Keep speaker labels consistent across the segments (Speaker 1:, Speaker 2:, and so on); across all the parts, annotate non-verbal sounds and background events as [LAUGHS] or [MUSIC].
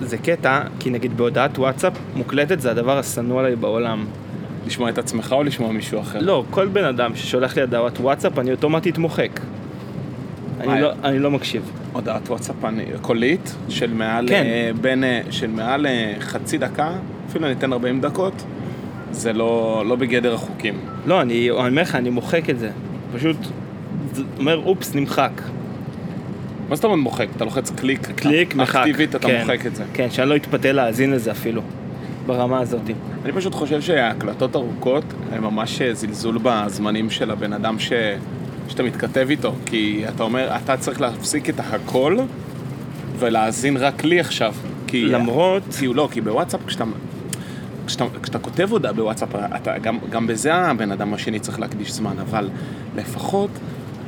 Speaker 1: זה קטע, כי נגיד בהודעת וואטסאפ מוקלטת זה הדבר השנוא עליי בעולם.
Speaker 2: לשמוע את עצמך או לשמוע מישהו אחר?
Speaker 1: לא, כל בן אדם ששולח לי הודעת וואטסאפ, אני אוטומטית מוחק. אני
Speaker 2: מה?
Speaker 1: לא, אני לא מקשיב.
Speaker 2: הודעת וואטסאפ אני- קולית של מעל,
Speaker 1: כן.
Speaker 2: אה, בין, אה, של מעל אה, חצי דקה, אפילו ניתן 40 דקות, זה לא, לא בגדר החוקים.
Speaker 1: לא, אני אני אומר לך, אני מוחק את זה. פשוט זה אומר, אופס, נמחק.
Speaker 2: מה זאת אומרת מוחק? אתה לוחץ קליק,
Speaker 1: קליק, מחק.
Speaker 2: אקטיבית אתה
Speaker 1: כן.
Speaker 2: מוחק את זה.
Speaker 1: כן, שאני לא אתפתה להאזין לזה אפילו. ברמה הזאת.
Speaker 2: אני פשוט חושב שההקלטות ארוכות הן ממש אה, זלזול בזמנים של הבן אדם ש... שאתה מתכתב איתו, כי אתה אומר, אתה צריך להפסיק את הכל ולהאזין רק לי עכשיו. כי...
Speaker 1: למרות...
Speaker 2: כי הוא לא, כי בוואטסאפ כשאתה... כשאתה, כשאתה כותב הודעה בוואטסאפ, אתה, גם, גם בזה הבן אדם השני צריך להקדיש זמן, אבל לפחות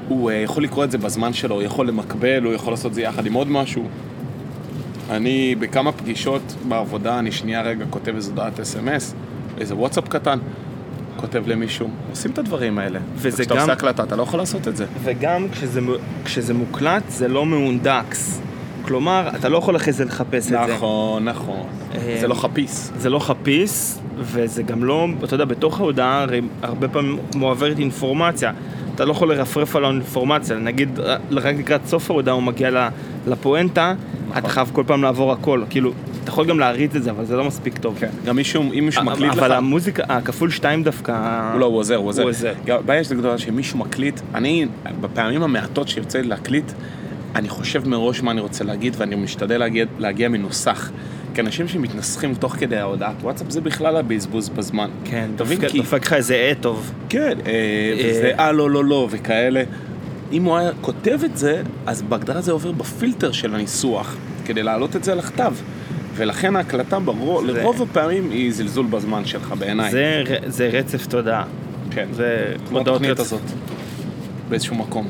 Speaker 2: הוא אה, יכול לקרוא את זה בזמן שלו, הוא יכול למקבל, הוא יכול לעשות את זה יחד עם עוד משהו. אני בכמה פגישות בעבודה, אני שנייה רגע כותב איזו הודעת אס.אם.אס, איזה וואטסאפ קטן, כותב למישהו. עושים את הדברים האלה.
Speaker 1: וזה
Speaker 2: כשאתה
Speaker 1: גם-
Speaker 2: עושה הקלטה, אתה לא יכול לעשות את זה.
Speaker 1: וגם כשזה, מ- כשזה מוקלט, זה לא מהונדקס. כלומר, אתה לא יכול אחרי זה לחפש את זה.
Speaker 2: נכון, נכון.
Speaker 1: אה,
Speaker 2: זה לא חפיס.
Speaker 1: זה לא חפיס, וזה גם לא, אתה יודע, בתוך ההודעה הרי הרבה פעמים מועברת אינפורמציה. אתה לא יכול לרפרף על האינפורמציה, נגיד רק לקראת סוף ההודעה הוא מגיע ל- לפואנטה,
Speaker 2: נכון.
Speaker 1: אתה חייב כל פעם לעבור הכל, כאילו, אתה יכול גם להריץ את זה, אבל זה לא מספיק טוב.
Speaker 2: גם מישהו, אם מישהו מקליט כן. לך...
Speaker 1: אה, אבל המוזיקה, הכפול שתיים דווקא...
Speaker 2: הוא לא, הוא עוזר, הוא עוזר.
Speaker 1: הוא עוזר.
Speaker 2: גם הבעיה שלי גדולה שמישהו מקליט, אני, בפעמים המעטות שיוצא לי להקליט, אני חושב מראש מה אני רוצה להגיד, ואני משתדל להגיע, להגיע מנוסח. כי אנשים שמתנסחים תוך כדי ההודעת וואטסאפ, זה בכלל הבזבוז בזמן.
Speaker 1: כן,
Speaker 2: אתה מבין?
Speaker 1: דופק-
Speaker 2: כי...
Speaker 1: דופק לך איזה אה טוב.
Speaker 2: כן, אה, וזה אה, לא, לא, לא, וכאלה. אם הוא היה כותב את זה, אז בהגדרה זה עובר בפילטר של הניסוח, כדי להעלות את זה על הכתב. ולכן ההקלטה ברוב,
Speaker 1: זה-
Speaker 2: לרוב הפעמים היא זלזול בזמן שלך בעיניי.
Speaker 1: זה ר- זה רצף תודעה.
Speaker 2: כן.
Speaker 1: זה
Speaker 2: כמו
Speaker 1: הודעות רצף.
Speaker 2: התוכנית הזאת, באיזשהו מקום.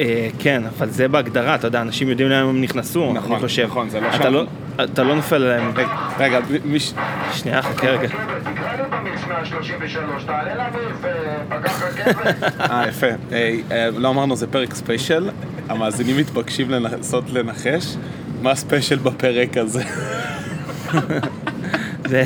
Speaker 1: אה, כן, אבל זה בהגדרה, אתה יודע, אנשים יודעים לאן הם נכנסו,
Speaker 2: נכון,
Speaker 1: אני חושב.
Speaker 2: נכון, זה לא
Speaker 1: אתה
Speaker 2: שם.
Speaker 1: לא, אתה לא נופל עליהם.
Speaker 2: רגע, רגע, מי ש...
Speaker 1: שנייה, חכה רגע.
Speaker 3: תתקהלו במיץ 133, תעלה לאוויר ופגח רכבת.
Speaker 2: [LAUGHS] אה, יפה. אה, אה, לא אמרנו, זה פרק ספיישל. המאזינים מתבקשים לנסות לנחש מה ספיישל בפרק הזה.
Speaker 1: זה,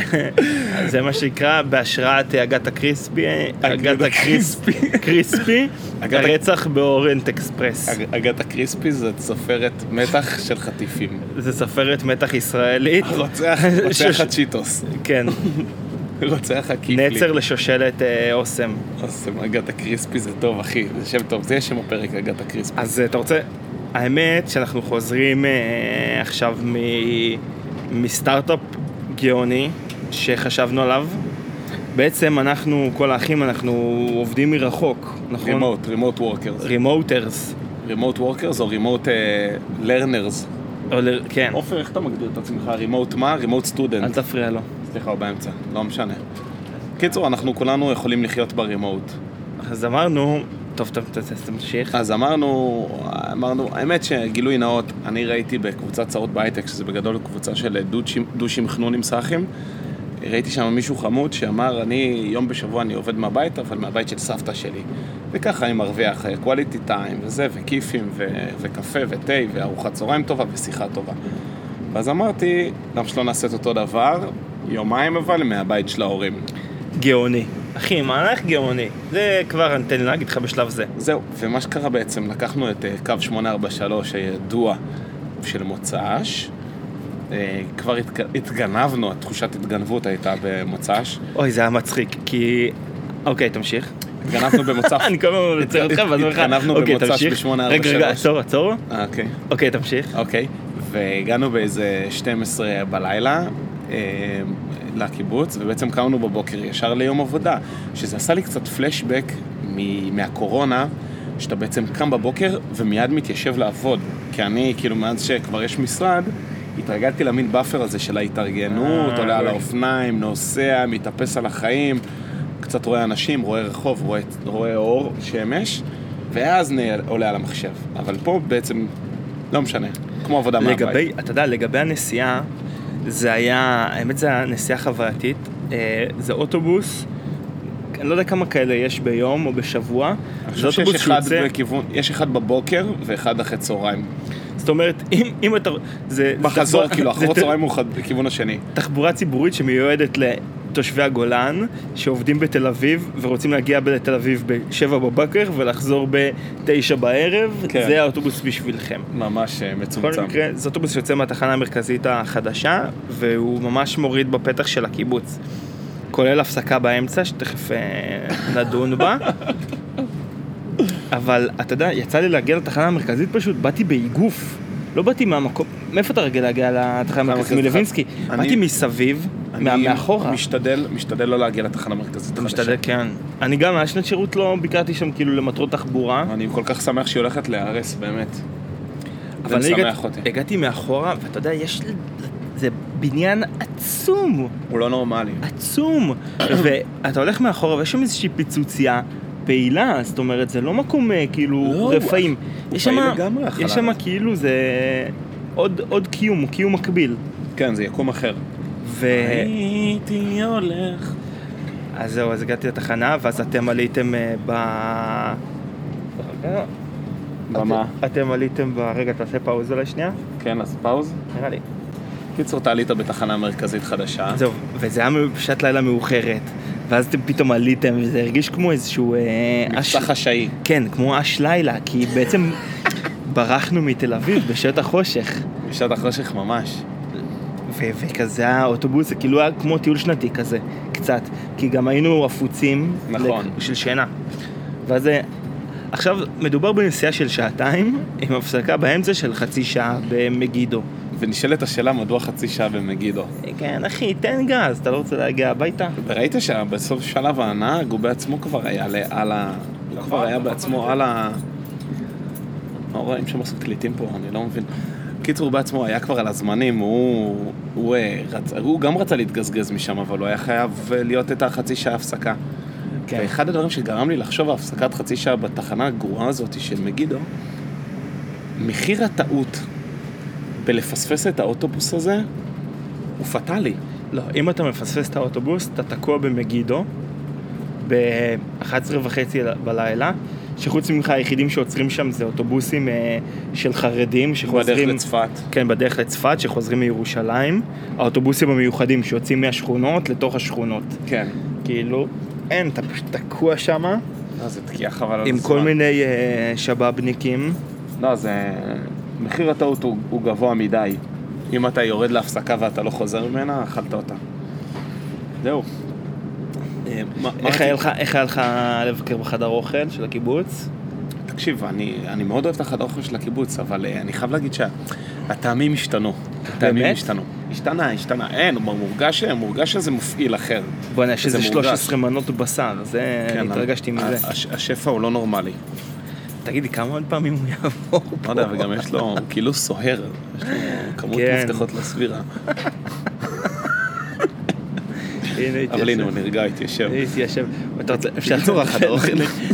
Speaker 1: זה מה שנקרא בהשראת הגת הקריספי, הגת הקריספי, קריספי,
Speaker 2: אגת-
Speaker 1: הרצח באורנט אקספרס.
Speaker 2: אג- אגת הקריספי זאת סופרת מתח של חטיפים.
Speaker 1: זה סופרת מתח ישראלית,
Speaker 2: רוצח,
Speaker 1: שש-
Speaker 2: רוצח הצ'יטוס.
Speaker 1: [LAUGHS] כן,
Speaker 2: רוצח הקיפלי.
Speaker 1: נצר לשושלת אה, אוסם.
Speaker 2: אז אגת הקריספי זה טוב, אחי. זה שם טוב. זה יהיה שם הפרק, אגת הקריספי.
Speaker 1: אז אה, אתה רוצה, האמת שאנחנו חוזרים אה, עכשיו מ... מסטארט-אפ גאוני שחשבנו עליו. בעצם אנחנו, כל האחים, אנחנו עובדים מרחוק, נכון?
Speaker 2: רימוט, רימוט וורקרס.
Speaker 1: רימוטרס.
Speaker 2: רימוט וורקרס או רימוט אה, לרנרס.
Speaker 1: או ל- כן,
Speaker 2: עופר, איך אתה מגדיר את עצמך? רימוט מה? רימוט
Speaker 1: אל
Speaker 2: סטודנט.
Speaker 1: תפריע לו.
Speaker 2: סליחה, הוא באמצע, לא משנה. קיצור, אנחנו כולנו יכולים לחיות ברימוט.
Speaker 1: אז אמרנו, טוב, טוב, ת- ת- תמשיך.
Speaker 2: אז אמרנו, אמרנו, האמת שגילוי נאות, אני ראיתי בקבוצת צרות בהייטק, שזה בגדול קבוצה של דושים- דושים חנונים סאחים, ראיתי שם מישהו חמוד שאמר, אני יום בשבוע אני עובד מהבית, אבל מהבית של סבתא שלי. וככה אני מרוויח אה, quality time וזה, וכיפים, ו- וקפה, ותה, וארוחת צהריים טובה, ושיחה טובה. ואז אמרתי, למה שלא נעשה את אותו דבר, יומיים אבל מהבית של ההורים.
Speaker 1: גאוני. אחי, מהלך גאוני. זה כבר אני- תן לי להגיד לך בשלב זה.
Speaker 2: זהו, ומה שקרה בעצם, לקחנו את אה, קו 843 הידוע של מוצ"ש, אה, כבר התג- התגנבנו, התחושת התגנבות הייתה במוצ"ש,
Speaker 1: אוי, זה היה מצחיק, כי... אוקיי, תמשיך.
Speaker 2: התגנבנו במוצ"ש,
Speaker 1: [LAUGHS] אני כל הזמן מצטער אותך, ואז אומר לך,
Speaker 2: התגנבנו
Speaker 1: אוקיי,
Speaker 2: במוצ"ש
Speaker 1: תמשיך.
Speaker 2: ב-8:43.
Speaker 1: רגע, רגע, עצור, עצור.
Speaker 2: אה, אוקיי,
Speaker 1: אוקיי, תמשיך.
Speaker 2: אוקיי, והגענו באיזה 12 בלילה אה, לקיבוץ, ובעצם קמנו בבוקר ישר ליום עבודה, שזה עשה לי קצת פלשבק מ- מהקורונה. שאתה בעצם קם בבוקר ומיד מתיישב לעבוד. כי אני, כאילו, מאז שכבר יש משרד, התרגלתי למין באפר הזה של ההתארגנות,
Speaker 1: אה,
Speaker 2: עולה על
Speaker 1: אוקיי.
Speaker 2: האופניים, נוסע, מתאפס על החיים, קצת רואה אנשים, רואה רחוב, רואה, רואה אור, שמש, ואז נ- עולה על המחשב. אבל פה בעצם, לא משנה, כמו עבודה מהבית.
Speaker 1: לגבי, אתה יודע, לגבי הנסיעה, זה היה, האמת זה היה נסיעה חווייתית, אה, זה אוטובוס, אני לא יודע כמה כאלה יש ביום או בשבוע,
Speaker 2: אני
Speaker 1: זה
Speaker 2: חושב
Speaker 1: אוטובוס
Speaker 2: שיש אחד
Speaker 1: שיוצא,
Speaker 2: בכיוון, יש אחד בבוקר ואחד אחרי צהריים.
Speaker 1: זאת אומרת, אם, אם אתה... זה, זה
Speaker 2: בחזור,
Speaker 1: [LAUGHS] תחבורה-
Speaker 2: כאילו,
Speaker 1: זה
Speaker 2: אחר
Speaker 1: ת-
Speaker 2: הצהריים הוא חד- לכיוון השני.
Speaker 1: תחבורה ציבורית שמיועדת לתושבי הגולן, שעובדים בתל אביב ורוצים להגיע לתל אביב בשבע בבוקר ולחזור בתשע בערב,
Speaker 2: כן.
Speaker 1: זה האוטובוס בשבילכם.
Speaker 2: ממש אה,
Speaker 1: בכל
Speaker 2: מצומצם.
Speaker 1: מקרה, זה אוטובוס שיוצא מהתחנה המרכזית החדשה, והוא ממש מוריד בפתח של הקיבוץ. כולל הפסקה באמצע, שתכף אה, [LAUGHS] נדון בה. אבל אתה יודע, יצא לי להגיע לתחנה המרכזית פשוט, באתי באיגוף. לא באתי מהמקום, מאיפה אתה רגיל להגיע לתחנה המרכזית?
Speaker 2: המרכזית?
Speaker 1: מלווינסקי.
Speaker 2: אני-
Speaker 1: באתי מסביב, מה-
Speaker 2: אני
Speaker 1: מאחורה.
Speaker 2: משתדל, משתדל לא להגיע לתחנה המרכזית
Speaker 1: אתה
Speaker 2: החדשה.
Speaker 1: משתדל, כן. אני גם, מהשנת שירות לא ביקרתי שם כאילו למטרות תחבורה.
Speaker 2: אני כל כך שמח שהיא הולכת להיהרס, באמת.
Speaker 1: אבל
Speaker 2: זה
Speaker 1: אני
Speaker 2: משמח
Speaker 1: הגעתי-
Speaker 2: אותי.
Speaker 1: הגעתי מאחורה, ואתה יודע, יש... ל- זה בניין עצום.
Speaker 2: הוא לא נורמלי. [COUGHS]
Speaker 1: עצום. ואתה הולך מאחורה ויש שם איזושהי פיצוצייה פעילה, זאת אומרת, זה לא מקום אה, כאילו
Speaker 2: לא,
Speaker 1: רפאים.
Speaker 2: הוא
Speaker 1: יש
Speaker 2: פעיל
Speaker 1: שם-
Speaker 2: לגמרי, החלל
Speaker 1: יש שם
Speaker 2: הזה.
Speaker 1: כאילו זה עוד, עוד קיום, קיום מקביל.
Speaker 2: כן, זה יקום אחר.
Speaker 1: ו...
Speaker 2: הייתי הולך.
Speaker 1: אז זהו, אז הגעתי לתחנה, ואז אתם עליתם אה, ב... רגע.
Speaker 2: במה?
Speaker 1: אתם- אתם עליתם ב... רגע, תעשה פאוזה לשנייה,
Speaker 2: כן, אז פאוז.
Speaker 1: נראה לי.
Speaker 2: קיצור, אתה עלית בתחנה מרכזית חדשה.
Speaker 1: זהו, וזה היה בשעת לילה מאוחרת, ואז אתם פתאום עליתם, וזה הרגיש כמו איזשהו... אה,
Speaker 2: מבצע
Speaker 1: אש-
Speaker 2: חשאי.
Speaker 1: כן, כמו אש לילה, כי בעצם ברחנו מתל אביב בשעות החושך.
Speaker 2: בשעת החושך ממש.
Speaker 1: ו- וכזה האוטובוס, זה כאילו היה כמו טיול שנתי כזה, קצת. כי גם היינו עפוצים
Speaker 2: נכון.
Speaker 1: לק- של שינה. ואז אה, עכשיו, מדובר בנסיעה של שעתיים, עם הפסקה באמצע של חצי שעה במגידו.
Speaker 2: ונשאלת השאלה מדוע חצי שעה במגידו.
Speaker 1: אה, כן, אחי, תן גז, אתה לא רוצה להגיע הביתה?
Speaker 2: וראית שבסוף שלב הנהג הוא בעצמו כבר היה ל- על ה... הוא כבר היה בעצמו על ה... מה רואים שם עושים קליטים פה? אני לא מבין. קיצור, הוא בעצמו היה כבר על הזמנים, הוא, הוא, אה, רצ... הוא גם רצה להתגזגז משם, אבל הוא היה חייב אה, להיות את החצי שעה הפסקה. כן. ואחד הדברים שגרם לי לחשוב על הפסקת חצי שעה בתחנה הגרועה הזאת של מגידו, מחיר הטעות בלפספס את האוטובוס הזה הוא פטאלי.
Speaker 1: לא, אם אתה מפספס את האוטובוס, אתה תקוע במגידו ב-11 וחצי בלילה, שחוץ ממך היחידים שעוצרים שם זה אוטובוסים אה, של חרדים
Speaker 2: בדרך
Speaker 1: שחוזרים...
Speaker 2: לצפת.
Speaker 1: כן, בדרך לצפת, שחוזרים מירושלים, האוטובוסים המיוחדים שיוצאים מהשכונות לתוך השכונות.
Speaker 2: כן.
Speaker 1: כאילו, אין, אתה פשוט תקוע שם
Speaker 2: לא, זה תקיעה חבל על
Speaker 1: עם
Speaker 2: הזמן.
Speaker 1: כל מיני אה, שבאבניקים.
Speaker 2: לא, זה... מחיר הטעות הוא, הוא גבוה מדי. אם אתה יורד להפסקה ואתה לא חוזר ממנה, אכלת אותה. זהו. אה, מה- מה
Speaker 1: איך היה
Speaker 2: רציתי-
Speaker 1: לך- איך היה לך לבקר בחדר אוכל של הקיבוץ?
Speaker 2: תקשיב, אני, אני מאוד אוהב את החדר אוכל של הקיבוץ, אבל אה, אני חייב להגיד שהטעמים השתנו. הטעמים
Speaker 1: באמת?
Speaker 2: השתנו. השתנה, השתנה. אין, הוא מורגש, אה, מורגש שזה מפעיל אחר.
Speaker 1: בוא'נה, יש
Speaker 2: זה
Speaker 1: איזה
Speaker 2: מורגש.
Speaker 1: 13 מנות בשר, זה,
Speaker 2: כן,
Speaker 1: אה, התרגשתי
Speaker 2: ה-
Speaker 1: מזה.
Speaker 2: הש- השפע הוא לא נורמלי.
Speaker 1: תגידי, כמה עוד פעמים הוא יעבור פה?
Speaker 2: לא יודע, וגם יש לו, הוא כאילו סוהר, יש לו
Speaker 1: [LAUGHS]
Speaker 2: כמות
Speaker 1: כן.
Speaker 2: מפתחות לסבירה.
Speaker 1: הנה, התיישב.
Speaker 2: אבל הנה, הוא נרגע, התיישב.
Speaker 1: התיישב. אתה רוצה, אפשר...
Speaker 2: בקיצור, החדר
Speaker 1: [LAUGHS]
Speaker 2: אוכל.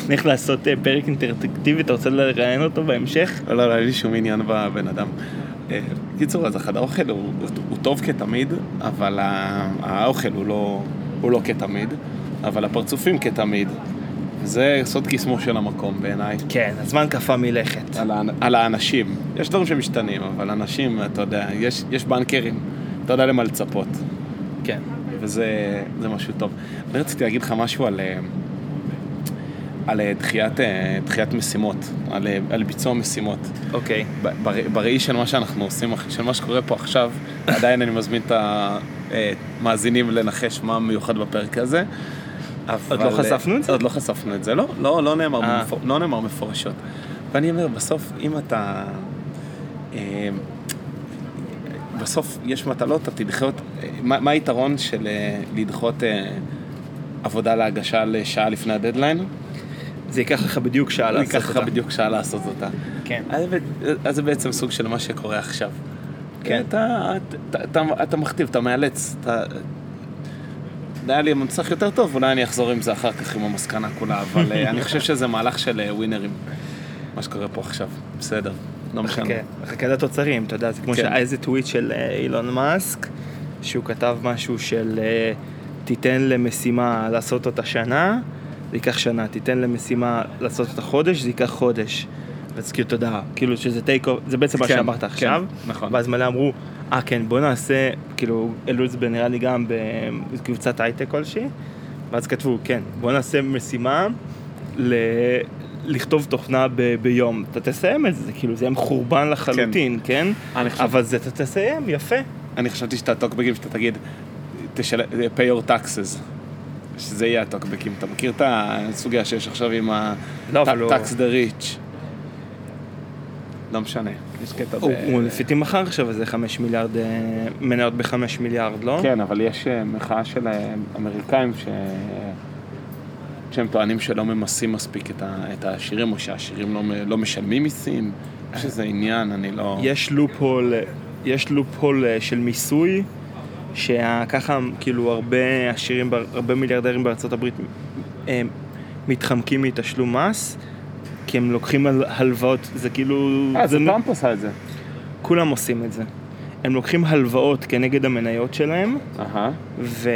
Speaker 1: נלך לעשות אה, פרק אינטרטקטיבי, אתה רוצה לראיין אותו בהמשך?
Speaker 2: לא, לא, אין לי שום עניין בבן אדם. אה, קיצור, אז החדר אוכל הוא, הוא, הוא טוב כתמיד, אבל ה- האוכל הוא לא, הוא לא כתמיד, אבל הפרצופים כתמיד. זה סוד קסמו של המקום בעיניי.
Speaker 1: כן, הזמן קפא מלכת.
Speaker 2: על, האנ- על האנשים. יש דברים שמשתנים, אבל אנשים, אתה יודע, יש, יש בנקרים, אתה יודע למה לצפות,
Speaker 1: כן.
Speaker 2: וזה זה משהו טוב. אני רציתי להגיד לך משהו על, אה, על אה, דחיית, אה, דחיית משימות, על, אה, על ביצוע משימות.
Speaker 1: אוקיי.
Speaker 2: ב- בר- בראי של מה שאנחנו עושים, של מה שקורה פה עכשיו, עדיין אני מזמין את המאזינים לנחש מה מיוחד בפרק הזה. אבל-
Speaker 1: עוד לא חשפנו את זה?
Speaker 2: עוד לא חשפנו את זה, לא, לא, לא, נאמר,
Speaker 1: אה.
Speaker 2: במפור, לא נאמר מפורשות. ואני אומר, בסוף, אם אתה... אה, בסוף יש מטלות, אתה תדחה אותן. אה, מה, מה היתרון של אה, לדחות אה, עבודה להגשה לשעה לפני הדדליין?
Speaker 1: זה ייקח לך בדיוק שעה
Speaker 2: אני
Speaker 1: לעשות
Speaker 2: אקח לך
Speaker 1: אותה.
Speaker 2: בדיוק שעה לעשות אותה.
Speaker 1: כן.
Speaker 2: אז זה- אז זה בעצם סוג של מה שקורה עכשיו.
Speaker 1: כן.
Speaker 2: אתה, אתה, אתה, אתה מכתיב, אתה מאלץ. אתה... היה לי מנצח יותר טוב, אולי אני אחזור עם זה אחר כך עם המסקנה כולה, אבל אה, אני חושב שזה מהלך של אה, ווינרים, מה שקורה פה עכשיו. בסדר, לא משנה.
Speaker 1: חכה, חכה לתוצרים, אתה יודע, זה כמו
Speaker 2: כן.
Speaker 1: שהיה איזה טוויט של אה, אילון מאסק, שהוא כתב משהו של אה, תיתן למשימה לעשות אותה שנה, זה ייקח שנה, תיתן למשימה לעשות אותה חודש, זה ייקח חודש. אז כאילו תודה, כאילו שזה טייק אוף, זה בעצם מה
Speaker 2: כן,
Speaker 1: שאמרת
Speaker 2: כן,
Speaker 1: עכשיו,
Speaker 2: נכון.
Speaker 1: ואז מלא אמרו, אה כן בוא נעשה, כאילו העלו את זה נראה לי גם בקבוצת הייטק כלשהי, ואז כתבו, כן, בוא נעשה משימה ל... לכתוב תוכנה ב- ביום, אתה תסיים את זה, כאילו זה יהיה מחורבן לחלוטין, כן?
Speaker 2: אה, אני חושב-
Speaker 1: אבל זה אתה תסיים, יפה.
Speaker 2: אני חשבתי שאתה טוקבקים שאתה תגיד, תשל... pay your taxes. שזה יהיה הטוקבקים. אתה מכיר את הסוגיה שיש עכשיו עם ה...
Speaker 1: לא, אבל הוא-
Speaker 2: tax the rich. לא משנה. יש קטע ב...
Speaker 1: הוא הוא מפיתים מחר עכשיו איזה חמש מיליארד, אה, מניות בחמש מיליארד, לא?
Speaker 2: כן, אבל יש אה, מחאה של אה, אמריקאים ש... שהם טוענים שלא ממסים מספיק את, ה... את העשירים, או שהעשירים לא, מ- לא משלמים מיסים. יש איזה עניין, אני לא...
Speaker 1: יש לופול, יש לופול אה, של מיסוי, שככה כאילו הרבה עשירים, בר- הרבה מיליארדרים בארצות הברית אה, מתחמקים מתשלום מס, כי הם לוקחים הל- הלוואות, זה כאילו,
Speaker 2: אה, זה
Speaker 1: זה-
Speaker 2: טראמפ עשה את זה.
Speaker 1: כולם עושים את זה. הם לוקחים הלוואות כנגד המניות שלהם,
Speaker 2: אהה.
Speaker 1: ו...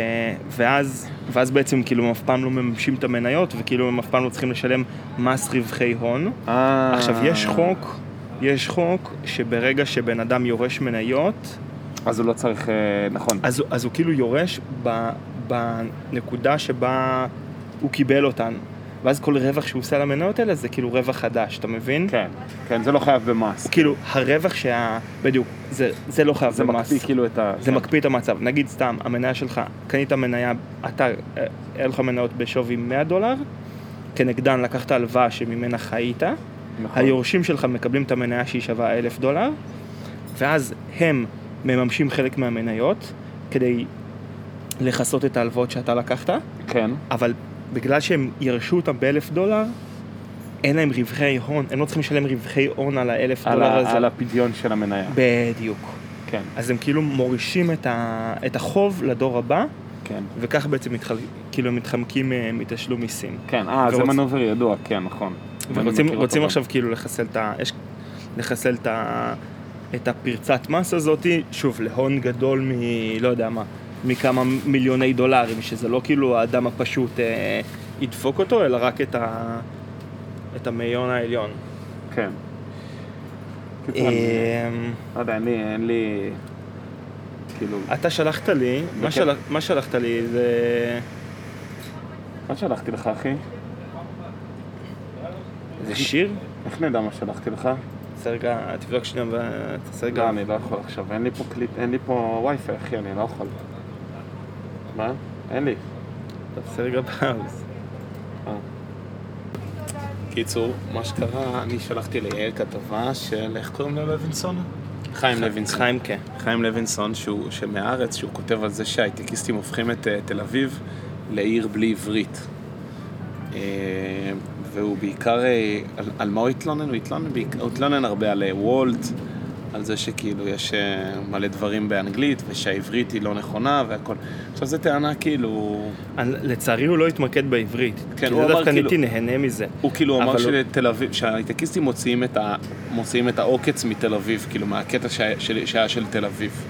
Speaker 1: ואז, ואז בעצם כאילו הם אף פעם לא מממשים את המניות, וכאילו הם אף פעם לא צריכים לשלם מס רווחי הון.
Speaker 2: אה.
Speaker 1: עכשיו, יש חוק, יש חוק שברגע שבן אדם יורש מניות,
Speaker 2: אז הוא לא צריך... אה, נכון.
Speaker 1: אז, הוא- אז הוא כאילו יורש ב, בנקודה שבה הוא קיבל אותן. ואז כל רווח שהוא עושה על המניות האלה זה כאילו רווח חדש, אתה מבין?
Speaker 2: כן, כן, זה לא חייב במס.
Speaker 1: הוא כאילו, הרווח שה... בדיוק, זה, זה לא חייב
Speaker 2: זה
Speaker 1: במס.
Speaker 2: מקפיא כאילו את ה...
Speaker 1: זה מקפיא את המצב. נגיד סתם, המניה שלך, קנית מניה, אתה, אה, היה לך מניות בשווי 100 דולר, כנגדן לקחת הלוואה שממנה חיית,
Speaker 2: נכון.
Speaker 1: היורשים שלך מקבלים את המניה שהיא שווה 1,000 דולר, ואז הם מממשים חלק מהמניות כדי לכסות את ההלוואות שאתה לקחת,
Speaker 2: כן.
Speaker 1: אבל בגלל שהם ירשו אותם ב-1,000 דולר, אין להם רווחי הון, הם לא צריכים לשלם רווחי הון על ה-1,000
Speaker 2: על
Speaker 1: דולר
Speaker 2: ה-
Speaker 1: הזה.
Speaker 2: על הפדיון של המניה.
Speaker 1: בדיוק.
Speaker 2: כן,
Speaker 1: אז הם כאילו מורישים את, ה... את החוב לדור הבא,
Speaker 2: כן.
Speaker 1: וכך בעצם מתחל... כאילו הם מתחמקים אה, מתשלום מיסים.
Speaker 2: כן, אה, זה
Speaker 1: ורוצ-
Speaker 2: מנובר ידוע, כן, נכון. אני
Speaker 1: ורוצים
Speaker 2: מכיר
Speaker 1: רוצים
Speaker 2: אותו
Speaker 1: עכשיו כאילו לחסל את ה... יש... לחסל את, ה... את הפרצת מס הזאתי, שוב, להון גדול מ... לא יודע מה, מכמה מיליוני דולרים, שזה לא כאילו האדם הפשוט אה, ידפוק אותו, אלא רק את, ה... את המאיון העליון.
Speaker 2: גם. כן. קיצור, אני-
Speaker 1: אה...
Speaker 2: לא יודע, אין לי, אין לי... כאילו,
Speaker 1: אתה שלחת לי, מה,
Speaker 2: וכן.
Speaker 1: שלח... מה שלחת לי זה...
Speaker 2: מה שלחתי לך, אחי?
Speaker 1: זה שיר?
Speaker 2: איך נדע מה שלחתי לך?
Speaker 1: תעשה רגע, תבדוק שנייה ותעשה
Speaker 2: לא,
Speaker 1: רגע.
Speaker 2: אני לא יכול עכשיו, אין לי פה קליט, אין לי פה וי-פיי, אחי, אני לא יכול. מה? אין לי. אה.
Speaker 1: תעשה רגע פאוז.
Speaker 2: קיצור, מה שקרה, אני שלחתי ליעל כתבה של, איך קוראים לו לוינסון? חיים לוינסון.
Speaker 1: חיים כן.
Speaker 2: חיים לוינסון, שהוא, שמהארץ, שהוא כותב על זה שההייטקיסטים הופכים את אה, תל אביב לעיר בלי עברית. אה, והוא בעיקר, אה, על, על מה הוא התלונן? הוא התלונן, בעיקר- הוא התלונן הרבה על אה, וולט, על זה שכאילו יש אה, מלא דברים באנגלית, ושהעברית היא לא נכונה והכל. עכשיו, זו טענה כאילו...
Speaker 1: אני- לצערי הוא לא התמקד בעברית. כן,
Speaker 2: הוא
Speaker 1: הוא
Speaker 2: אמר
Speaker 1: דווקא
Speaker 2: כאילו-
Speaker 1: הייתי נהנה מזה.
Speaker 2: הוא כאילו אמר
Speaker 1: אבל
Speaker 2: שתל אביב, שההייטקיסטים מוציאים את, ה, מוציאים את העוקץ מתל אביב, כאילו מהקטע שהיה של, שהיה של תל אביב.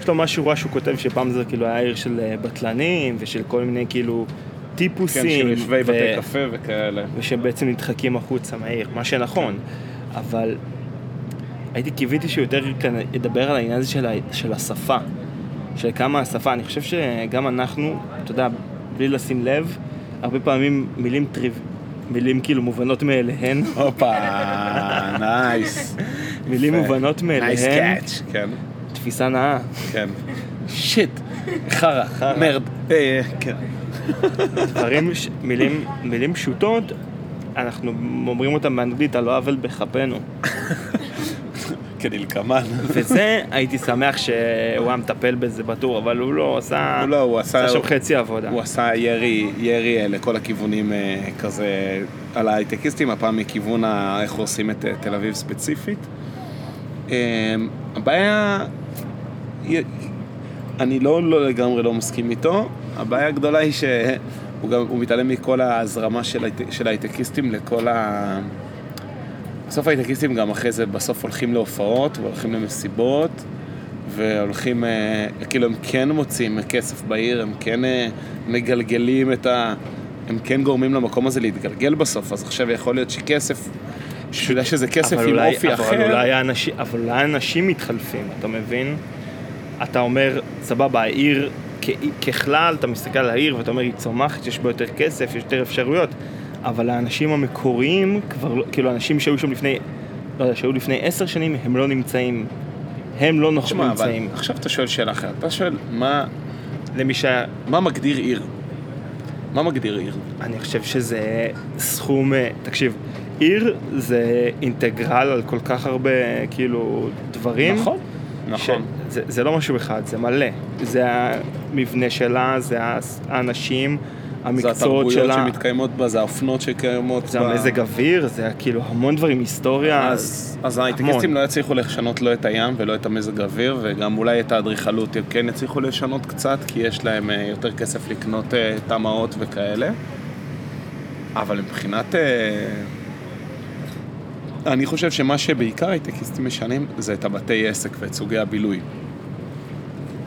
Speaker 1: יש לו משהו רע שהוא כותב שפעם זה כאילו היה עיר של אה, בטלנים ושל כל מיני כאילו טיפוסים.
Speaker 2: כן, של יושבי
Speaker 1: ו-
Speaker 2: בתי קפה וכאלה.
Speaker 1: ושבעצם נדחקים החוצה מהעיר, מה שנכון. אבל הייתי קיוויתי שהוא יותר כאן ידבר על העניין הזה של, ה... של השפה. של כמה השפה, אני חושב שגם אנחנו, אתה יודע, בלי לשים לב, הרבה פעמים מילים טריו... מילים כאילו מובנות מאליהן,
Speaker 2: הופה, נייס.
Speaker 1: מילים מובנות
Speaker 2: נייס
Speaker 1: מאליהן,
Speaker 2: קאץ'. כן,
Speaker 1: תפיסה נאה.
Speaker 2: כן. שיט, חרא, מרד. אה, כן.
Speaker 1: דברים, ש- מילים, מילים פשוטות, אנחנו אומרים אותם באנגלית על לא עוול בכפינו.
Speaker 2: כדלקמן.
Speaker 1: וזה, הייתי שמח שהוא היה מטפל בזה בטור, אבל הוא לא עשה...
Speaker 2: הוא לא, הוא עשה-
Speaker 1: עשה שם חצי עבודה.
Speaker 2: הוא עשה ירי, ירי אה, לכל הכיוונים אה, כזה על ההייטקיסטים, הפעם מכיוון ה- איך הורסים את אה, תל אביב ספציפית. אה, הבעיה, י- אני לא, לא לגמרי לא מסכים איתו, הבעיה הגדולה היא שהוא גם, הוא מתעלם מכל ההזרמה של, ההייט- של ההייטקיסטים לכל ה... בסוף ההייטקיסטים גם אחרי זה, בסוף הולכים להופעות והולכים למסיבות והולכים, אה, כאילו הם כן מוצאים כסף בעיר, הם כן אה, מגלגלים את ה... הם כן גורמים למקום הזה להתגלגל בסוף, אז עכשיו יכול להיות שכסף שהוא יודע שזה כסף
Speaker 1: אבל
Speaker 2: עם
Speaker 1: אולי-
Speaker 2: אופי
Speaker 1: אבל
Speaker 2: אחר.
Speaker 1: אולי האנשים, אבל אולי האנשים מתחלפים, אתה מבין? אתה אומר, סבבה, העיר, כ- ככלל, אתה מסתכל על העיר ואתה אומר, היא צומחת, יש בה יותר כסף, יש יותר אפשרויות, אבל האנשים המקוריים, כבר, לא- כאילו, האנשים שהיו שם לפני, לא יודע, שהיו לפני עשר שנים, הם לא נמצאים. הם לא נוכ-
Speaker 2: תשמע, אבל
Speaker 1: נמצאים.
Speaker 2: עכשיו אתה שואל שאלה אחרת. אתה שואל, מה,
Speaker 1: למי שה...
Speaker 2: מה מגדיר עיר? מה מגדיר עיר?
Speaker 1: אני חושב שזה סכום, אה, תקשיב, עיר זה אינטגרל על כל כך הרבה, כאילו, דברים.
Speaker 2: נכון. נכון.
Speaker 1: ש... זה, זה לא משהו אחד, זה מלא. זה המבנה שלה, זה הס- האנשים,
Speaker 2: זה
Speaker 1: המקצועות
Speaker 2: התרבויות
Speaker 1: שלה,
Speaker 2: שמתקיימות בה, זה האופנות שקיימות
Speaker 1: זה
Speaker 2: בה.
Speaker 1: המזג אוויר, זה כאילו המון דברים, היסטוריה.
Speaker 2: אז, אז ההייטקיסטים לא יצליחו לשנות לא את הים ולא את המזג האוויר, וגם אולי את האדריכלות הם כן יצליחו לשנות קצת, כי יש להם אה, יותר כסף לקנות אה, תמ"אות וכאלה. אבל מבחינת... אה, אני חושב שמה שבעיקר הייטקיסטים משנים זה את הבתי עסק ואת סוגי הבילוי.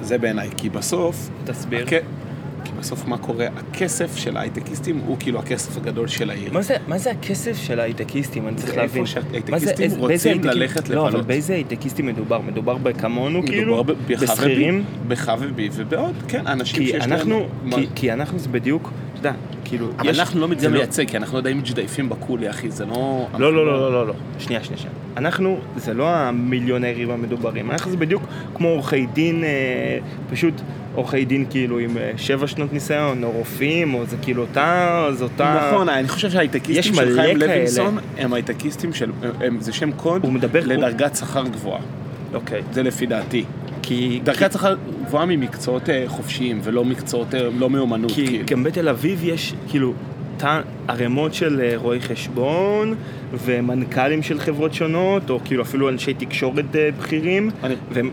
Speaker 2: זה בעיניי, כי בסוף...
Speaker 1: תסביר.
Speaker 2: הכ- כי בסוף מה קורה? הכסף של ההייטקיסטים הוא כאילו הכסף הגדול של העיר.
Speaker 1: מה זה, מה זה הכסף של ההייטקיסטים? אני צריך
Speaker 2: איפה
Speaker 1: להבין.
Speaker 2: שההייטקיסטים
Speaker 1: מה זה- איזה-
Speaker 2: רוצים
Speaker 1: באיזה הייטקיסטים-
Speaker 2: ללכת
Speaker 1: לא, אבל
Speaker 2: לבלות.
Speaker 1: באיזה הייטקיסטים מדובר? מדובר בכמונו, כאילו?
Speaker 2: מדובר ב- בחוה
Speaker 1: בשכירים?
Speaker 2: בי- בחוה בי ובעוד, כן, אנשים
Speaker 1: כי
Speaker 2: שיש
Speaker 1: אנחנו,
Speaker 2: להם...
Speaker 1: כי- כי אנחנו זה בדיוק, אתה יודע, כאילו,
Speaker 2: אבל
Speaker 1: יש-
Speaker 2: אנחנו לא
Speaker 1: זה
Speaker 2: מתגמייצג, כי אנחנו עדיין מתג'דייפים בקולי, אחי, זה לא...
Speaker 1: לא, לא, לא, לא, לא, לא. שנייה, שנייה, שנייה. אנחנו, זה לא המיליונרים המדוברים, אנחנו זה בדיוק כמו עורכי דין, אה, פשוט עורכי דין כאילו עם אה, שבע שנות ניסיון, או רופאים, או זה כאילו אותה, או זה אותה...
Speaker 2: נכון, אני חושב שההייטקיסטים
Speaker 1: יש
Speaker 2: של
Speaker 1: מלא
Speaker 2: חיים
Speaker 1: כאלה.
Speaker 2: לוינסון הם הייטקיסטים של... הם- זה שם קוד
Speaker 1: הוא מדבר-
Speaker 2: לדרגת שכר גבוהה,
Speaker 1: אוקיי.
Speaker 2: זה לפי דעתי.
Speaker 1: כי...
Speaker 2: דרגת
Speaker 1: כי-
Speaker 2: שכר גבוהה ממקצועות אה, חופשיים ולא מקצועות, אה, לא מאומנות,
Speaker 1: כי
Speaker 2: כאילו.
Speaker 1: גם בתל אביב יש, כאילו, ת- ערימות של אה, רואי חשבון, ומנכ"לים של חברות שונות, או כאילו אפילו אנשי תקשורת אה, בכירים.
Speaker 2: אני-
Speaker 1: והם,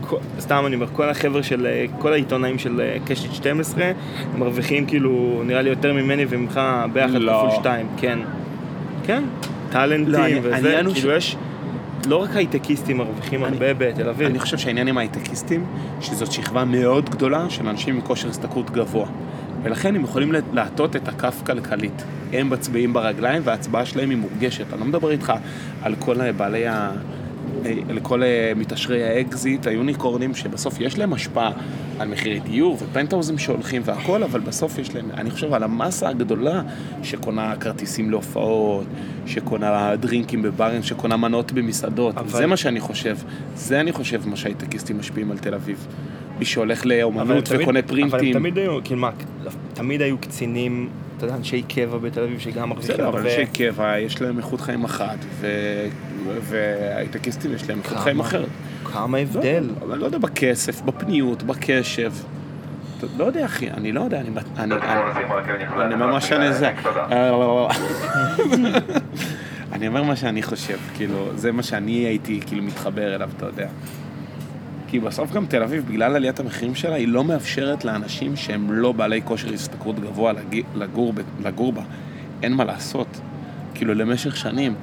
Speaker 1: כל- סתם אני אומר, כל החבר'ה של, אה, כל העיתונאים של אה, קשת 12, הם מרוויחים כאילו, נראה לי יותר ממני וממך ביחד
Speaker 2: לא.
Speaker 1: כפול שתיים, כן. כן, טאלנטים
Speaker 2: לא, אני-
Speaker 1: וזה,
Speaker 2: העניין הוא
Speaker 1: כאילו
Speaker 2: ש-
Speaker 1: יש, לא רק הייטקיסטים מרוויחים
Speaker 2: אני-
Speaker 1: הרבה בתל אביב.
Speaker 2: אני חושב שהעניין עם הייטקיסטים, שזאת שכבה מאוד גדולה של אנשים עם כושר השתכרות גבוה. ולכן הם יכולים להטות את הכף כלכלית. הם מצביעים ברגליים וההצבעה שלהם היא מורגשת. אני לא מדבר איתך על כל בעלי ה... על כל אה, מתעשרי האקזיט, היוניקורנים, שבסוף יש להם השפעה על מחירי דיור ופנטהאוזים שהולכים והכול, אבל בסוף יש להם, אני חושב על המסה הגדולה שקונה כרטיסים להופעות, שקונה דרינקים בברים, שקונה מנות במסעדות.
Speaker 1: אבל-
Speaker 2: זה מה שאני חושב. זה אני חושב מה שהייטקיסטים משפיעים על תל אביב. מי שהולך לאומנות
Speaker 1: הם
Speaker 2: וקונה
Speaker 1: תמיד- אבל הם
Speaker 2: פרינטים.
Speaker 1: תמיד היו, כאילו מה, תמיד היו קצינים, אתה יודע, אנשי קבע בתל אביב שגם מרוויחים
Speaker 2: בסדר,
Speaker 1: הרבה.
Speaker 2: כן, אבל אנשי קבע, יש להם איכות חיים אחת, ו- והייטקיסטים יש להם איכות
Speaker 1: כמה?
Speaker 2: חיים אחרת.
Speaker 1: כמה
Speaker 2: לא,
Speaker 1: הבדל.
Speaker 2: אבל לא יודע, בכסף, בפניות, בקשב. אתה- לא יודע, אחי, אני לא יודע, אני... אני- אני- אני אומר מה שאני זה. אה, לא, לא, לא. [LAUGHS] אני אומר מה שאני חושב, כאילו, זה מה שאני הייתי כאילו מתחבר אליו, אתה יודע. כי בסוף גם תל אביב, בגלל עליית המחירים שלה, היא לא מאפשרת לאנשים שהם לא בעלי כושר השתכרות גבוה לגי- לגור, ב- לגור בה. אין מה לעשות. כאילו, למשך שנים.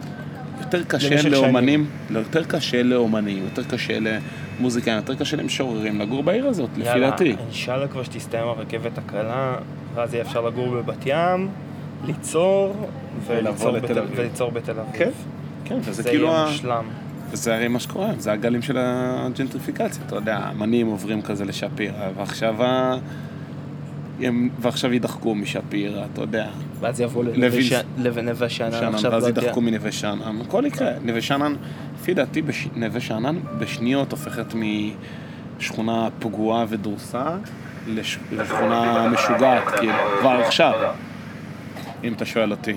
Speaker 2: יותר
Speaker 1: למשך
Speaker 2: קשה
Speaker 1: שנים.
Speaker 2: לאומנים, לא, יותר קשה לאומנים, יותר קשה למוזיקאים, יותר קשה למשוררים לגור בעיר הזאת, לפי דעתי.
Speaker 1: אינשאללה כבר שתסתיים הרכבת הקלה, ואז יהיה אפשר לגור בבת ים, ליצור,
Speaker 2: ולבוא
Speaker 1: וליצור
Speaker 2: לתל
Speaker 1: בתל-
Speaker 2: אביב.
Speaker 1: וליצור בתל אביב.
Speaker 2: כן, כן, וזה
Speaker 1: זה
Speaker 2: כאילו...
Speaker 1: יהיה
Speaker 2: ה-
Speaker 1: מושלם.
Speaker 2: וזה הרי מה שקורה, זה הגלים של הג'נטריפיקציה, אתה יודע, האמנים עוברים כזה לשפירא, ועכשיו ה... הם... ועכשיו יידחקו משפירא, אתה יודע,
Speaker 1: ואז יבוא
Speaker 2: לוין-
Speaker 1: לנווה שאנן
Speaker 2: שאנן,
Speaker 1: עכשיו,
Speaker 2: ואז
Speaker 1: לא יודע.
Speaker 2: יידחקו מנווה שאנן, הכל יקרה. נווה שאנן, לפי דעתי, בש... נווה שאנן בשניות הופכת משכונה פגועה ודרוסה לש... לשכונה משוגעת, כאילו, כבר עכשיו, אם אתה שואל אותי.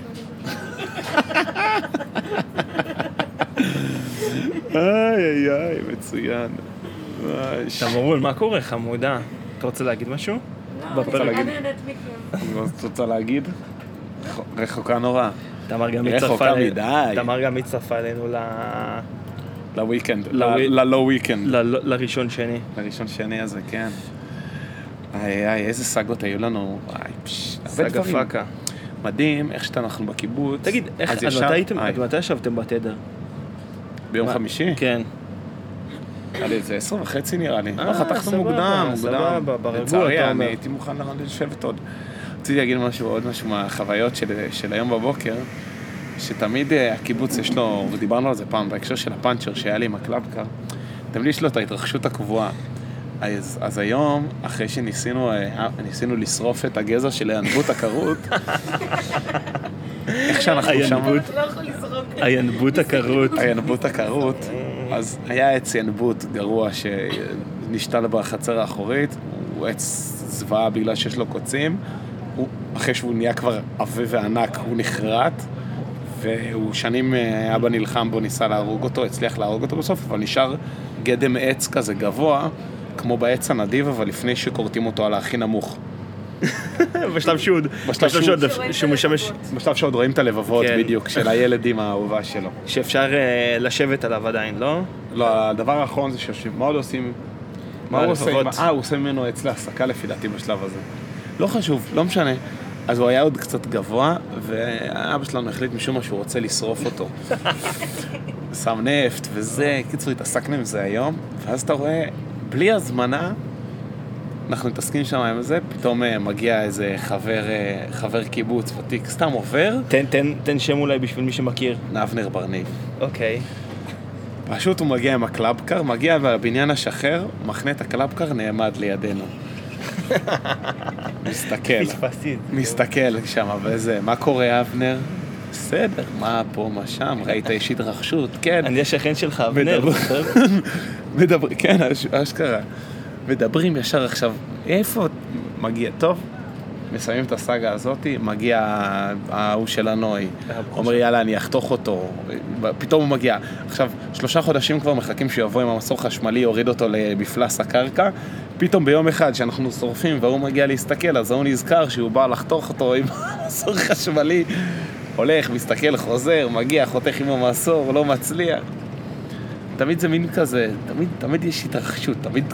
Speaker 2: איי איי איי, מצוין. וואי, ש-
Speaker 1: תמרול, מה קורה, חמודה? אתה רוצה להגיד משהו? בפרק.
Speaker 4: אני נהנית מכם.
Speaker 2: מה את רוצה להגיד? רחוקה נורא,
Speaker 1: תמר גם
Speaker 2: רחוקה
Speaker 1: הצטרפה אלינו-
Speaker 2: מדי.
Speaker 1: תמר גם הצטרפה אלינו ל-
Speaker 2: לוויקנד,
Speaker 1: לווי-
Speaker 2: ל- ללא וויקנד.
Speaker 1: ל- ל- לראשון שני.
Speaker 2: לראשון שני הזה, כן. איי, איי, איזה סאגות היו לנו, וואי, פשש, הרבה
Speaker 1: סגה
Speaker 2: דברים.
Speaker 1: פאקה.
Speaker 2: מדהים, איך שאנחנו בקיבוץ.
Speaker 1: תגיד, איך,
Speaker 2: אז
Speaker 1: עד
Speaker 2: ישר-
Speaker 1: מתי הייתם,
Speaker 2: איי,
Speaker 1: עד מתי ישבתם בתדר?
Speaker 2: ביום
Speaker 1: מה?
Speaker 2: חמישי?
Speaker 1: כן.
Speaker 2: היה לי איזה עשר וחצי נראה לי.
Speaker 1: אה,
Speaker 2: לא, חתכנו
Speaker 1: סבבה,
Speaker 2: מוקדם, מוקדם.
Speaker 1: סבבה, ברגוע,
Speaker 2: לצערי,
Speaker 1: אתה
Speaker 2: אני
Speaker 1: אומר.
Speaker 2: הייתי מוכן לרדת לשבת עוד. רציתי להגיד משהו, עוד משהו מהחוויות של- של היום בבוקר. שתמיד אה, הקיבוץ יש לו, ודיברנו על זה פעם בהקשר של הפאנצ'ר שהיה לי עם הקלאבקר, תמיד יש לו את ההתרחשות הקבועה. אז, אז היום, אחרי שניסינו אה, ניסינו לשרוף את הגזע של
Speaker 1: [LAUGHS]
Speaker 2: הינבוט הכרות, איך שאנחנו שם...
Speaker 1: הינבוט.
Speaker 4: אתה לא יכול לזרוק את זה.
Speaker 1: הינבוט הכרות.
Speaker 2: הינבוט הכרות, אז היה עץ ינבוט גרוע שנשתל בחצר האחורית, הוא עץ זוועה בגלל שיש לו קוצים, הוא, אחרי שהוא נהיה כבר עבה וענק, הוא נחרט, והוא שנים אה, אבא נלחם בו, ניסה להרוג אותו, הצליח להרוג אותו בסוף, אבל נשאר גדם עץ כזה גבוה, כמו בעץ הנדיב, אבל לפני שכורתים אותו על הכי נמוך.
Speaker 1: [LAUGHS] בשלב שהוא עוד,
Speaker 2: בשלב שהוא-
Speaker 1: עוד-
Speaker 4: שרואים את
Speaker 1: שהוא משמש,
Speaker 4: הלבבות.
Speaker 2: בשלב שעוד רואים את הלבבות
Speaker 1: כן.
Speaker 2: בדיוק, של הילד עם האהובה שלו.
Speaker 1: שאפשר אה, לשבת עליו עדיין, לא?
Speaker 2: לא, הדבר האחרון זה שיושבים, מה עוד עושים? מה הוא עושה? עם-
Speaker 1: לפחות-
Speaker 2: אה, הוא עושה ממנו עץ להסקה לפי דעתי בשלב הזה. לא חשוב, לא משנה. אז הוא היה עוד קצת גבוה, ואבא שלנו החליט משום מה שהוא רוצה לשרוף אותו. שם נפט וזה, קיצור, התעסקנו עם זה היום, ואז אתה רואה, בלי הזמנה, אנחנו מתעסקים שם עם זה, פתאום אה, מגיע איזה חבר, אה, חבר קיבוץ ותיק, סתם עובר,
Speaker 1: תן, תן, תן שם אולי בשביל מי שמכיר.
Speaker 2: אבנר ברניב.
Speaker 1: אוקיי.
Speaker 2: פשוט הוא מגיע עם הקלאבקר, מגיע והבניין השחר, מחנה את הקלאבקר, נעמד לידינו.
Speaker 1: כן.
Speaker 2: מסתכל,
Speaker 1: פספסתי את זה.
Speaker 2: מסתכל שם, וזה, מה קורה אבנר? בסדר, מה פה, מה שם, ראית איש התרחשות, כן.
Speaker 1: אני השכן שלך, אבנר.
Speaker 2: בדיוק.
Speaker 1: זוכר? [LAUGHS]
Speaker 2: מדברים, כן, אש- אשכרה. מדברים ישר עכשיו, איפה מגיע, טוב, מסיימים את הסאגה הזאתי, מגיע ההוא של הנוי, אומר יאללה אני אחתוך אותו, פתאום הוא מגיע. עכשיו, שלושה חודשים כבר מחכים שהוא יבוא עם המסור חשמלי, יוריד אותו למפלס הקרקע, פתאום ביום אחד שאנחנו שורפים וההוא מגיע להסתכל, אז ההוא נזכר שהוא בא לחתוך אותו עם המסור חשמלי, הולך, מסתכל, חוזר, מגיע, חותך עם המסור, לא מצליח. תמיד זה מין כזה, תמיד, תמיד יש התרחשות, תמיד...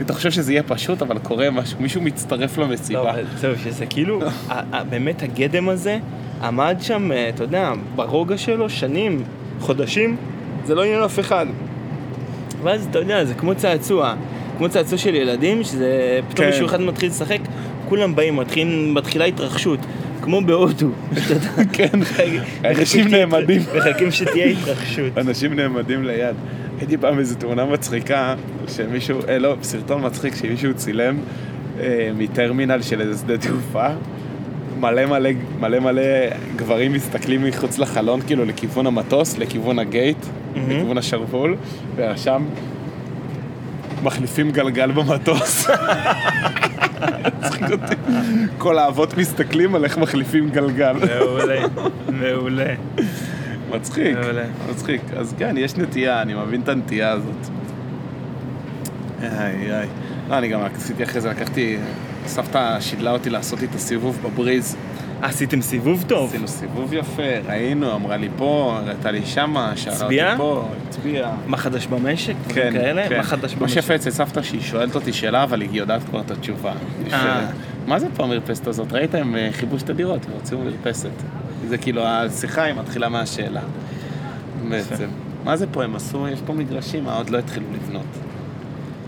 Speaker 2: אתה חושב שזה יהיה פשוט, אבל קורה משהו, מישהו מצטרף
Speaker 1: לא,
Speaker 2: למסיבה.
Speaker 1: אבל זהו, שזה כאילו, ה- ה- באמת הגדם הזה עמד שם, אה, אתה יודע, ברוגע שלו שנים, חודשים, זה לא עניין אף אחד. ואז אתה יודע, זה כמו צעצוע, כמו צעצוע של ילדים, שזה פתאום
Speaker 2: כן.
Speaker 1: מישהו אחד מתחיל לשחק, כולם באים, מתחילים- מתחילה התרחשות, כמו בהודו. שאתה יודע, [LAUGHS]
Speaker 2: כן, אנשים
Speaker 1: מחכים שתהיה-
Speaker 2: נעמדים.
Speaker 1: מחכים שתהיה התרחשות.
Speaker 2: אנשים נעמדים ליד. הייתי פעם איזו תאונה מצחיקה, שמישהו, אה, לא, סרטון מצחיק שמישהו צילם אה, מטרמינל של איזה שדה תעופה. מלא מלא מלא מלא גברים מסתכלים מחוץ לחלון, כאילו לכיוון המטוס, לכיוון הגייט,
Speaker 1: מהמם.
Speaker 2: לכיוון השרוול, ושם מחליפים גלגל במטוס. [LAUGHS] מצחיק אותי. כל האבות מסתכלים על איך מחליפים גלגל.
Speaker 1: כן. מעולה, מעולה.
Speaker 2: מצחיק,
Speaker 1: מעולה.
Speaker 2: מצחיק. אז כן, יש נטייה, אני מבין את הנטייה הזאת. איי, איי. לא, אני גם עשיתי אחרי זה, לקחתי... סבתא שידלה אותי לעשות לי את הסיבוב בבריז.
Speaker 1: עשיתם סיבוב טוב?
Speaker 2: עשינו סיבוב יפה, ראינו, אמרה לי פה, הראתה לי שמה, שאלה אותי
Speaker 1: הצביעה?
Speaker 2: פה, הצביעה.
Speaker 1: מה חדש במשק? דברים
Speaker 2: כן,
Speaker 1: כאלה?
Speaker 2: כן.
Speaker 1: מה חדש
Speaker 2: מה
Speaker 1: במשק?
Speaker 2: שיפה אצל סבתא שהיא שואלת אותי שאלה, אבל היא יודעת כבר את התשובה. היא
Speaker 1: אה.
Speaker 2: שואלת, מה זה פה המרפסת הזאת? ראית הם אה, חיבוש את הדירות, הם הוציאו מרפסת. זה כאילו, השיחה היא מתחילה מהשאלה. בעצם. מה זה פה הם עשו? יש פה מגרשים, מה עוד לא התחילו לבנות.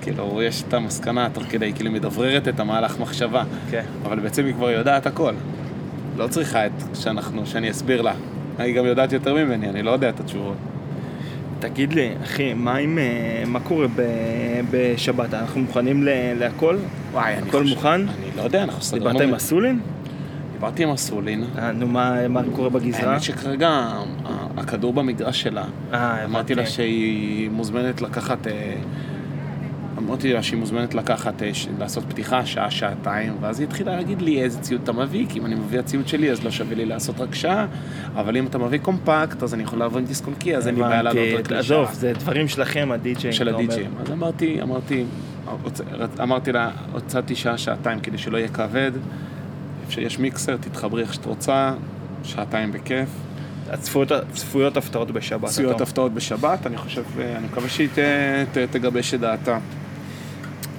Speaker 2: כאילו, יש את המסקנה תוך כדי, כאילו, היא מדבררת את המהלך מחשבה.
Speaker 1: כן.
Speaker 2: אבל בעצם היא כבר יודעת הכל. לא צריכה את שאנחנו, שאני אסביר לה. היא גם יודעת יותר ממני, אני לא יודע את התשובות.
Speaker 1: תגיד לי, אחי, מה עם... אה, מה קורה ב- בשבת? אנחנו מוכנים ל- להכל?
Speaker 2: וואי, אני
Speaker 1: הכל
Speaker 2: חושב-
Speaker 1: מוכן?
Speaker 2: אני לא יודע, אנחנו סגרנו...
Speaker 1: דיברת עם אסולין?
Speaker 2: דיברתי עם אסולין.
Speaker 1: אה, נו, מה מה קורה בגזרה?
Speaker 2: האמת שכרגע ה- הכדור במגרש שלה.
Speaker 1: אה,
Speaker 2: אמרתי לה
Speaker 1: הבנתי.
Speaker 2: שהיא מוזמנת לקחת... אה, אמרתי לה שהיא מוזמנת לקחת, אה, ש- לעשות פתיחה שעה, שעתיים, ואז היא התחילה להגיד לי איזה ציוד אתה מביא, כי אם אני מביא הציוד שלי אז לא שווה לי לעשות רק שעה, אבל אם אתה מביא קומפקט אז אני יכול לעבור עם דיסק און קי, אז אין לי בעיה לעלות
Speaker 1: הבנתי.
Speaker 2: רק לשעה.
Speaker 1: עזוב, זה דברים שלכם, הדי-ג'יי.
Speaker 2: של הדי-ג'ים. כן, אז אמרתי, אמרתי, הוצ- רצ- אמרתי לה, הוצאתי שעה, שעתיים כדי שלא יהיה כבד, אפשר- יש מיקסר, תתחברי איך שאת רוצה, שעתיים בכיף.
Speaker 1: צפויות הפתעות בשבת.
Speaker 2: ציוד
Speaker 1: אתה אומר.
Speaker 2: הפתעות בשבת, אני חושב, אה, אני מקווה שהיא ת- ת- תגבש את דעתה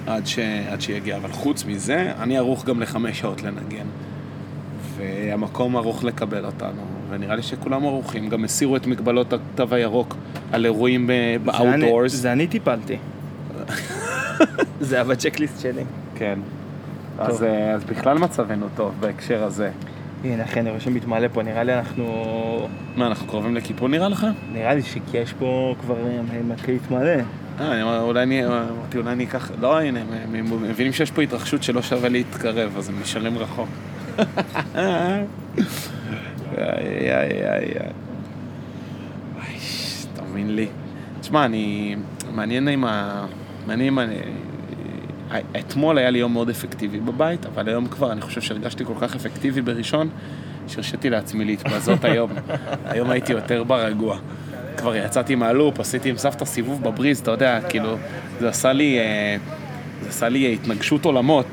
Speaker 2: עד ש- עד שהיא יגיעה. אבל חוץ מזה, אני ערוך גם לחמש שעות לנגן. והמקום ערוך לקבל אותנו, ונראה לי שכולם ערוכים. גם הסירו את מגבלות התו הירוק על אירועים אה,
Speaker 1: זה אני-
Speaker 2: ב-outdoors.
Speaker 1: זה אני טיפלתי. [LAUGHS] זה היה בצ'קליסט שלי.
Speaker 2: כן. אז, אה, אז בכלל מצבנו טוב בהקשר הזה.
Speaker 1: הנה אחי, אני רואה שמתמלא פה, נראה לי אנחנו...
Speaker 2: מה, אנחנו קרובים לקיפול נראה לך?
Speaker 1: נראה לי שיש פה כבר אה, מתחיל להתמלא.
Speaker 2: אה, אני אמר, אולי אני, אמרתי, אולי אני אקח, לא, הנה, הם- הם הם מבינים שיש פה התרחשות שלא שווה להתקרב, אז הם נשארים רחוק. איי, איי, איי, איי. אוי, ש- תאמין לי. תשמע, אני... מעניין אם ה... מעניין אם אני... ה- אתמול היה לי יום מאוד אפקטיבי בבית, אבל היום כבר אני חושב שהרגשתי כל כך אפקטיבי בראשון, שהרשיתי לעצמי
Speaker 1: [LAUGHS]
Speaker 2: להתבזות היום. היום הייתי יותר ברגוע. כבר יצאתי מהלופ, עשיתי עם סבתא סיבוב בבריז, אתה יודע, כאילו, זה עשה לי... אה, זה עשה לי אה, התנגשות עולמות.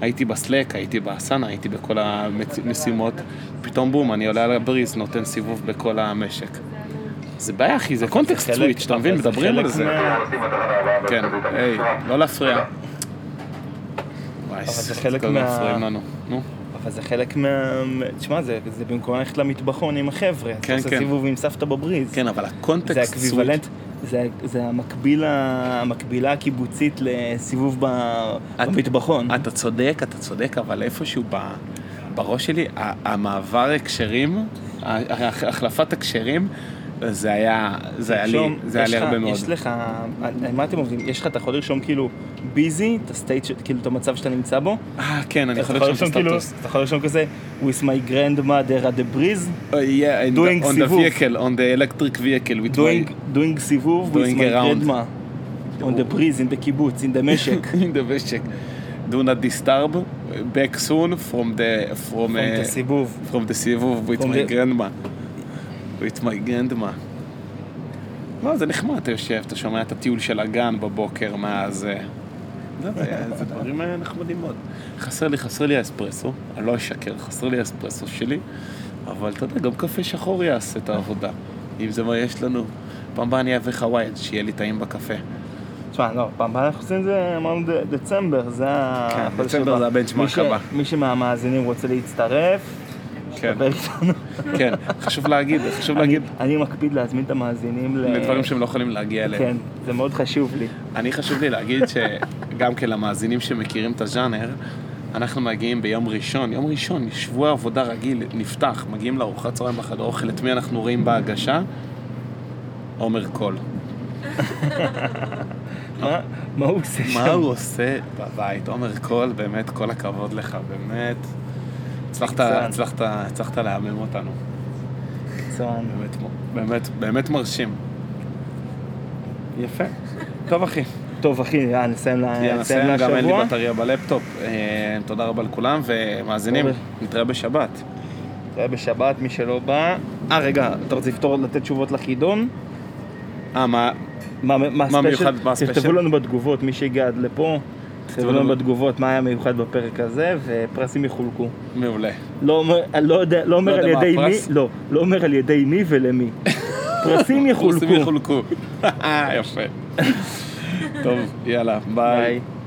Speaker 2: הייתי בסלק, הייתי באסנה, הייתי בכל המשימות. פתאום בום, אני עולה על הבריז, נותן סיבוב בכל המשק. זה בעיה, אחי, זה קונטקסט
Speaker 1: חלק-
Speaker 2: סוויץ', אתה מבין?
Speaker 1: אבל זה
Speaker 2: מדברים
Speaker 1: חלק
Speaker 2: על זה.
Speaker 1: מה-
Speaker 2: כן, היי, לא להפריע. וואי,
Speaker 1: זה חלק
Speaker 2: כל הזמן
Speaker 1: מה-
Speaker 2: מפריעים לנו. נו.
Speaker 1: אבל זה חלק מה... תשמע, זה, זה במקום ללכת למטבחון עם החבר'ה.
Speaker 2: כן,
Speaker 1: אתה עושה
Speaker 2: כן.
Speaker 1: סיבוב עם סבתא בבריז.
Speaker 2: כן, אבל
Speaker 1: זה
Speaker 2: הקונטקסט סוויץ'.
Speaker 1: האקוויוולנט, זה, זה המקביל, ה- המקבילה הקיבוצית לסיבוב ב, במטבחון.
Speaker 2: אתה צודק, אתה צודק, אבל איפשהו ב- בראש שלי, ה- המעבר הקשרים, ה- ה- החלפת הקשרים, זה היה זה היה לי
Speaker 1: תרשום,
Speaker 2: זה היה
Speaker 1: יש
Speaker 2: לי
Speaker 1: לך-
Speaker 2: הרבה מאוד.
Speaker 1: יש לך, על מה אתם עובדים? יש לך, אתה יכול לרשום כאילו ביזי, את הסטייט, ש- כאילו את המצב שאתה נמצא בו.
Speaker 2: אה, כן, אני
Speaker 1: אתה
Speaker 2: יכול לרשום את
Speaker 1: כאילו,
Speaker 2: הסטטוס.
Speaker 1: אתה יכול לרשום כזה, with my grandmother at the breeze,
Speaker 2: Uh, yeah, in
Speaker 1: Doing
Speaker 2: the, on
Speaker 1: סיבוב.
Speaker 2: the vehicle, on the electric vehicle with
Speaker 1: doing,
Speaker 2: my...
Speaker 1: doing סיבוב, with
Speaker 2: Doing
Speaker 1: my
Speaker 2: around.
Speaker 1: grandma, on the breeze, in the קיבוץ, in the
Speaker 2: [LAUGHS]
Speaker 1: משק.
Speaker 2: [LAUGHS] in the משק. Do not disturb, back soon from the... From,
Speaker 1: from the
Speaker 2: uh,
Speaker 1: סיבוב.
Speaker 2: from the סיבוב with
Speaker 1: From
Speaker 2: my
Speaker 1: the-
Speaker 2: grandma. with my grandma. לא, זה נחמד, אתה יושב, אתה שומע את הטיול של הגן בבוקר מאז... אה, זה, זה- זה דברים אה, נחמדים מאוד. חסר לי, חסר לי האספרסו, אני לא אשקר, חסר לי האספרסו שלי, אבל אתה יודע, גם קפה שחור יעשה את העבודה, אם זה מה יש לנו. פעם הבאה אני אביא חווייד, שיהיה לי טעים בקפה.
Speaker 1: תשמע, לא, פעם הבאה אנחנו עושים את זה, אמרנו ד- דצמבר, זה ה...
Speaker 2: כן,
Speaker 1: החודש
Speaker 2: דצמבר
Speaker 1: הבא.
Speaker 2: זה הבנצ'מארק
Speaker 1: מי ש-
Speaker 2: הבא.
Speaker 1: מי שמהמאזינים רוצה להצטרף,
Speaker 2: כן,
Speaker 1: דבר איתנו.
Speaker 2: כן, חשוב להגיד, חשוב להגיד
Speaker 1: אני- אני מקפיד להזמין את המאזינים ל...
Speaker 2: לדברים אה, שהם לא יכולים להגיע אליהם.
Speaker 1: אה, כן, זה מאוד חשוב לי.
Speaker 2: אני חשוב לי להגיד שגם כן למאזינים שמכירים את הז'אנר, אנחנו מגיעים ביום ראשון, יום ראשון, שבוע עבודה רגיל, נפתח, מגיעים לארוחת צהריים בחדר אוכל, את מי אנחנו רואים בהגשה? עומר קול.
Speaker 1: מה- מה הוא עושה שם?
Speaker 2: מה הוא עושה בבית? עומר קול, באמת, כל הכבוד לך, באמת. הצלחת, הצלחת, הצלחת להמם אותנו,
Speaker 1: מקצוען.
Speaker 2: באמת, באמת, באמת מרשים. יפה. טוב אחי,
Speaker 1: טוב, אחי, יאללה, נסיים לה-
Speaker 2: יאללה,
Speaker 1: נסיים
Speaker 2: נסיים, גם אין לי
Speaker 1: להשבוע.
Speaker 2: בטריה בלפטופ. אה, תודה רבה לכולם, ומאזינים,
Speaker 1: תודה.
Speaker 2: נתראה בשבת.
Speaker 1: נתראה בשבת, מי שלא בא... אה, רגע, אתה רוצה לפתור, לתת תשובות לחידון?
Speaker 2: אה, מה?
Speaker 1: מה מה הספיישל?
Speaker 2: מיוחד, מה הספיישל?
Speaker 1: תכתבו לנו בתגובות, מי שהגיע עד לפה, תכתבו לנו
Speaker 2: לנו-
Speaker 1: בתגובות מה היה מיוחד בפרק הזה, ופרסים יחולקו.
Speaker 2: מעולה.
Speaker 1: לא אומר, אני לא יודע, לא אומר
Speaker 2: לא
Speaker 1: על
Speaker 2: יודע מה
Speaker 1: ידי מי,
Speaker 2: הפרס?
Speaker 1: לא, לא אומר על ידי מי
Speaker 2: [LAUGHS]
Speaker 1: ולמי. פרסים
Speaker 2: קורסים
Speaker 1: יחולקו.
Speaker 2: יחולקו. יפה. אה, [LAUGHS] טוב, יאללה, ביי.
Speaker 1: ביי.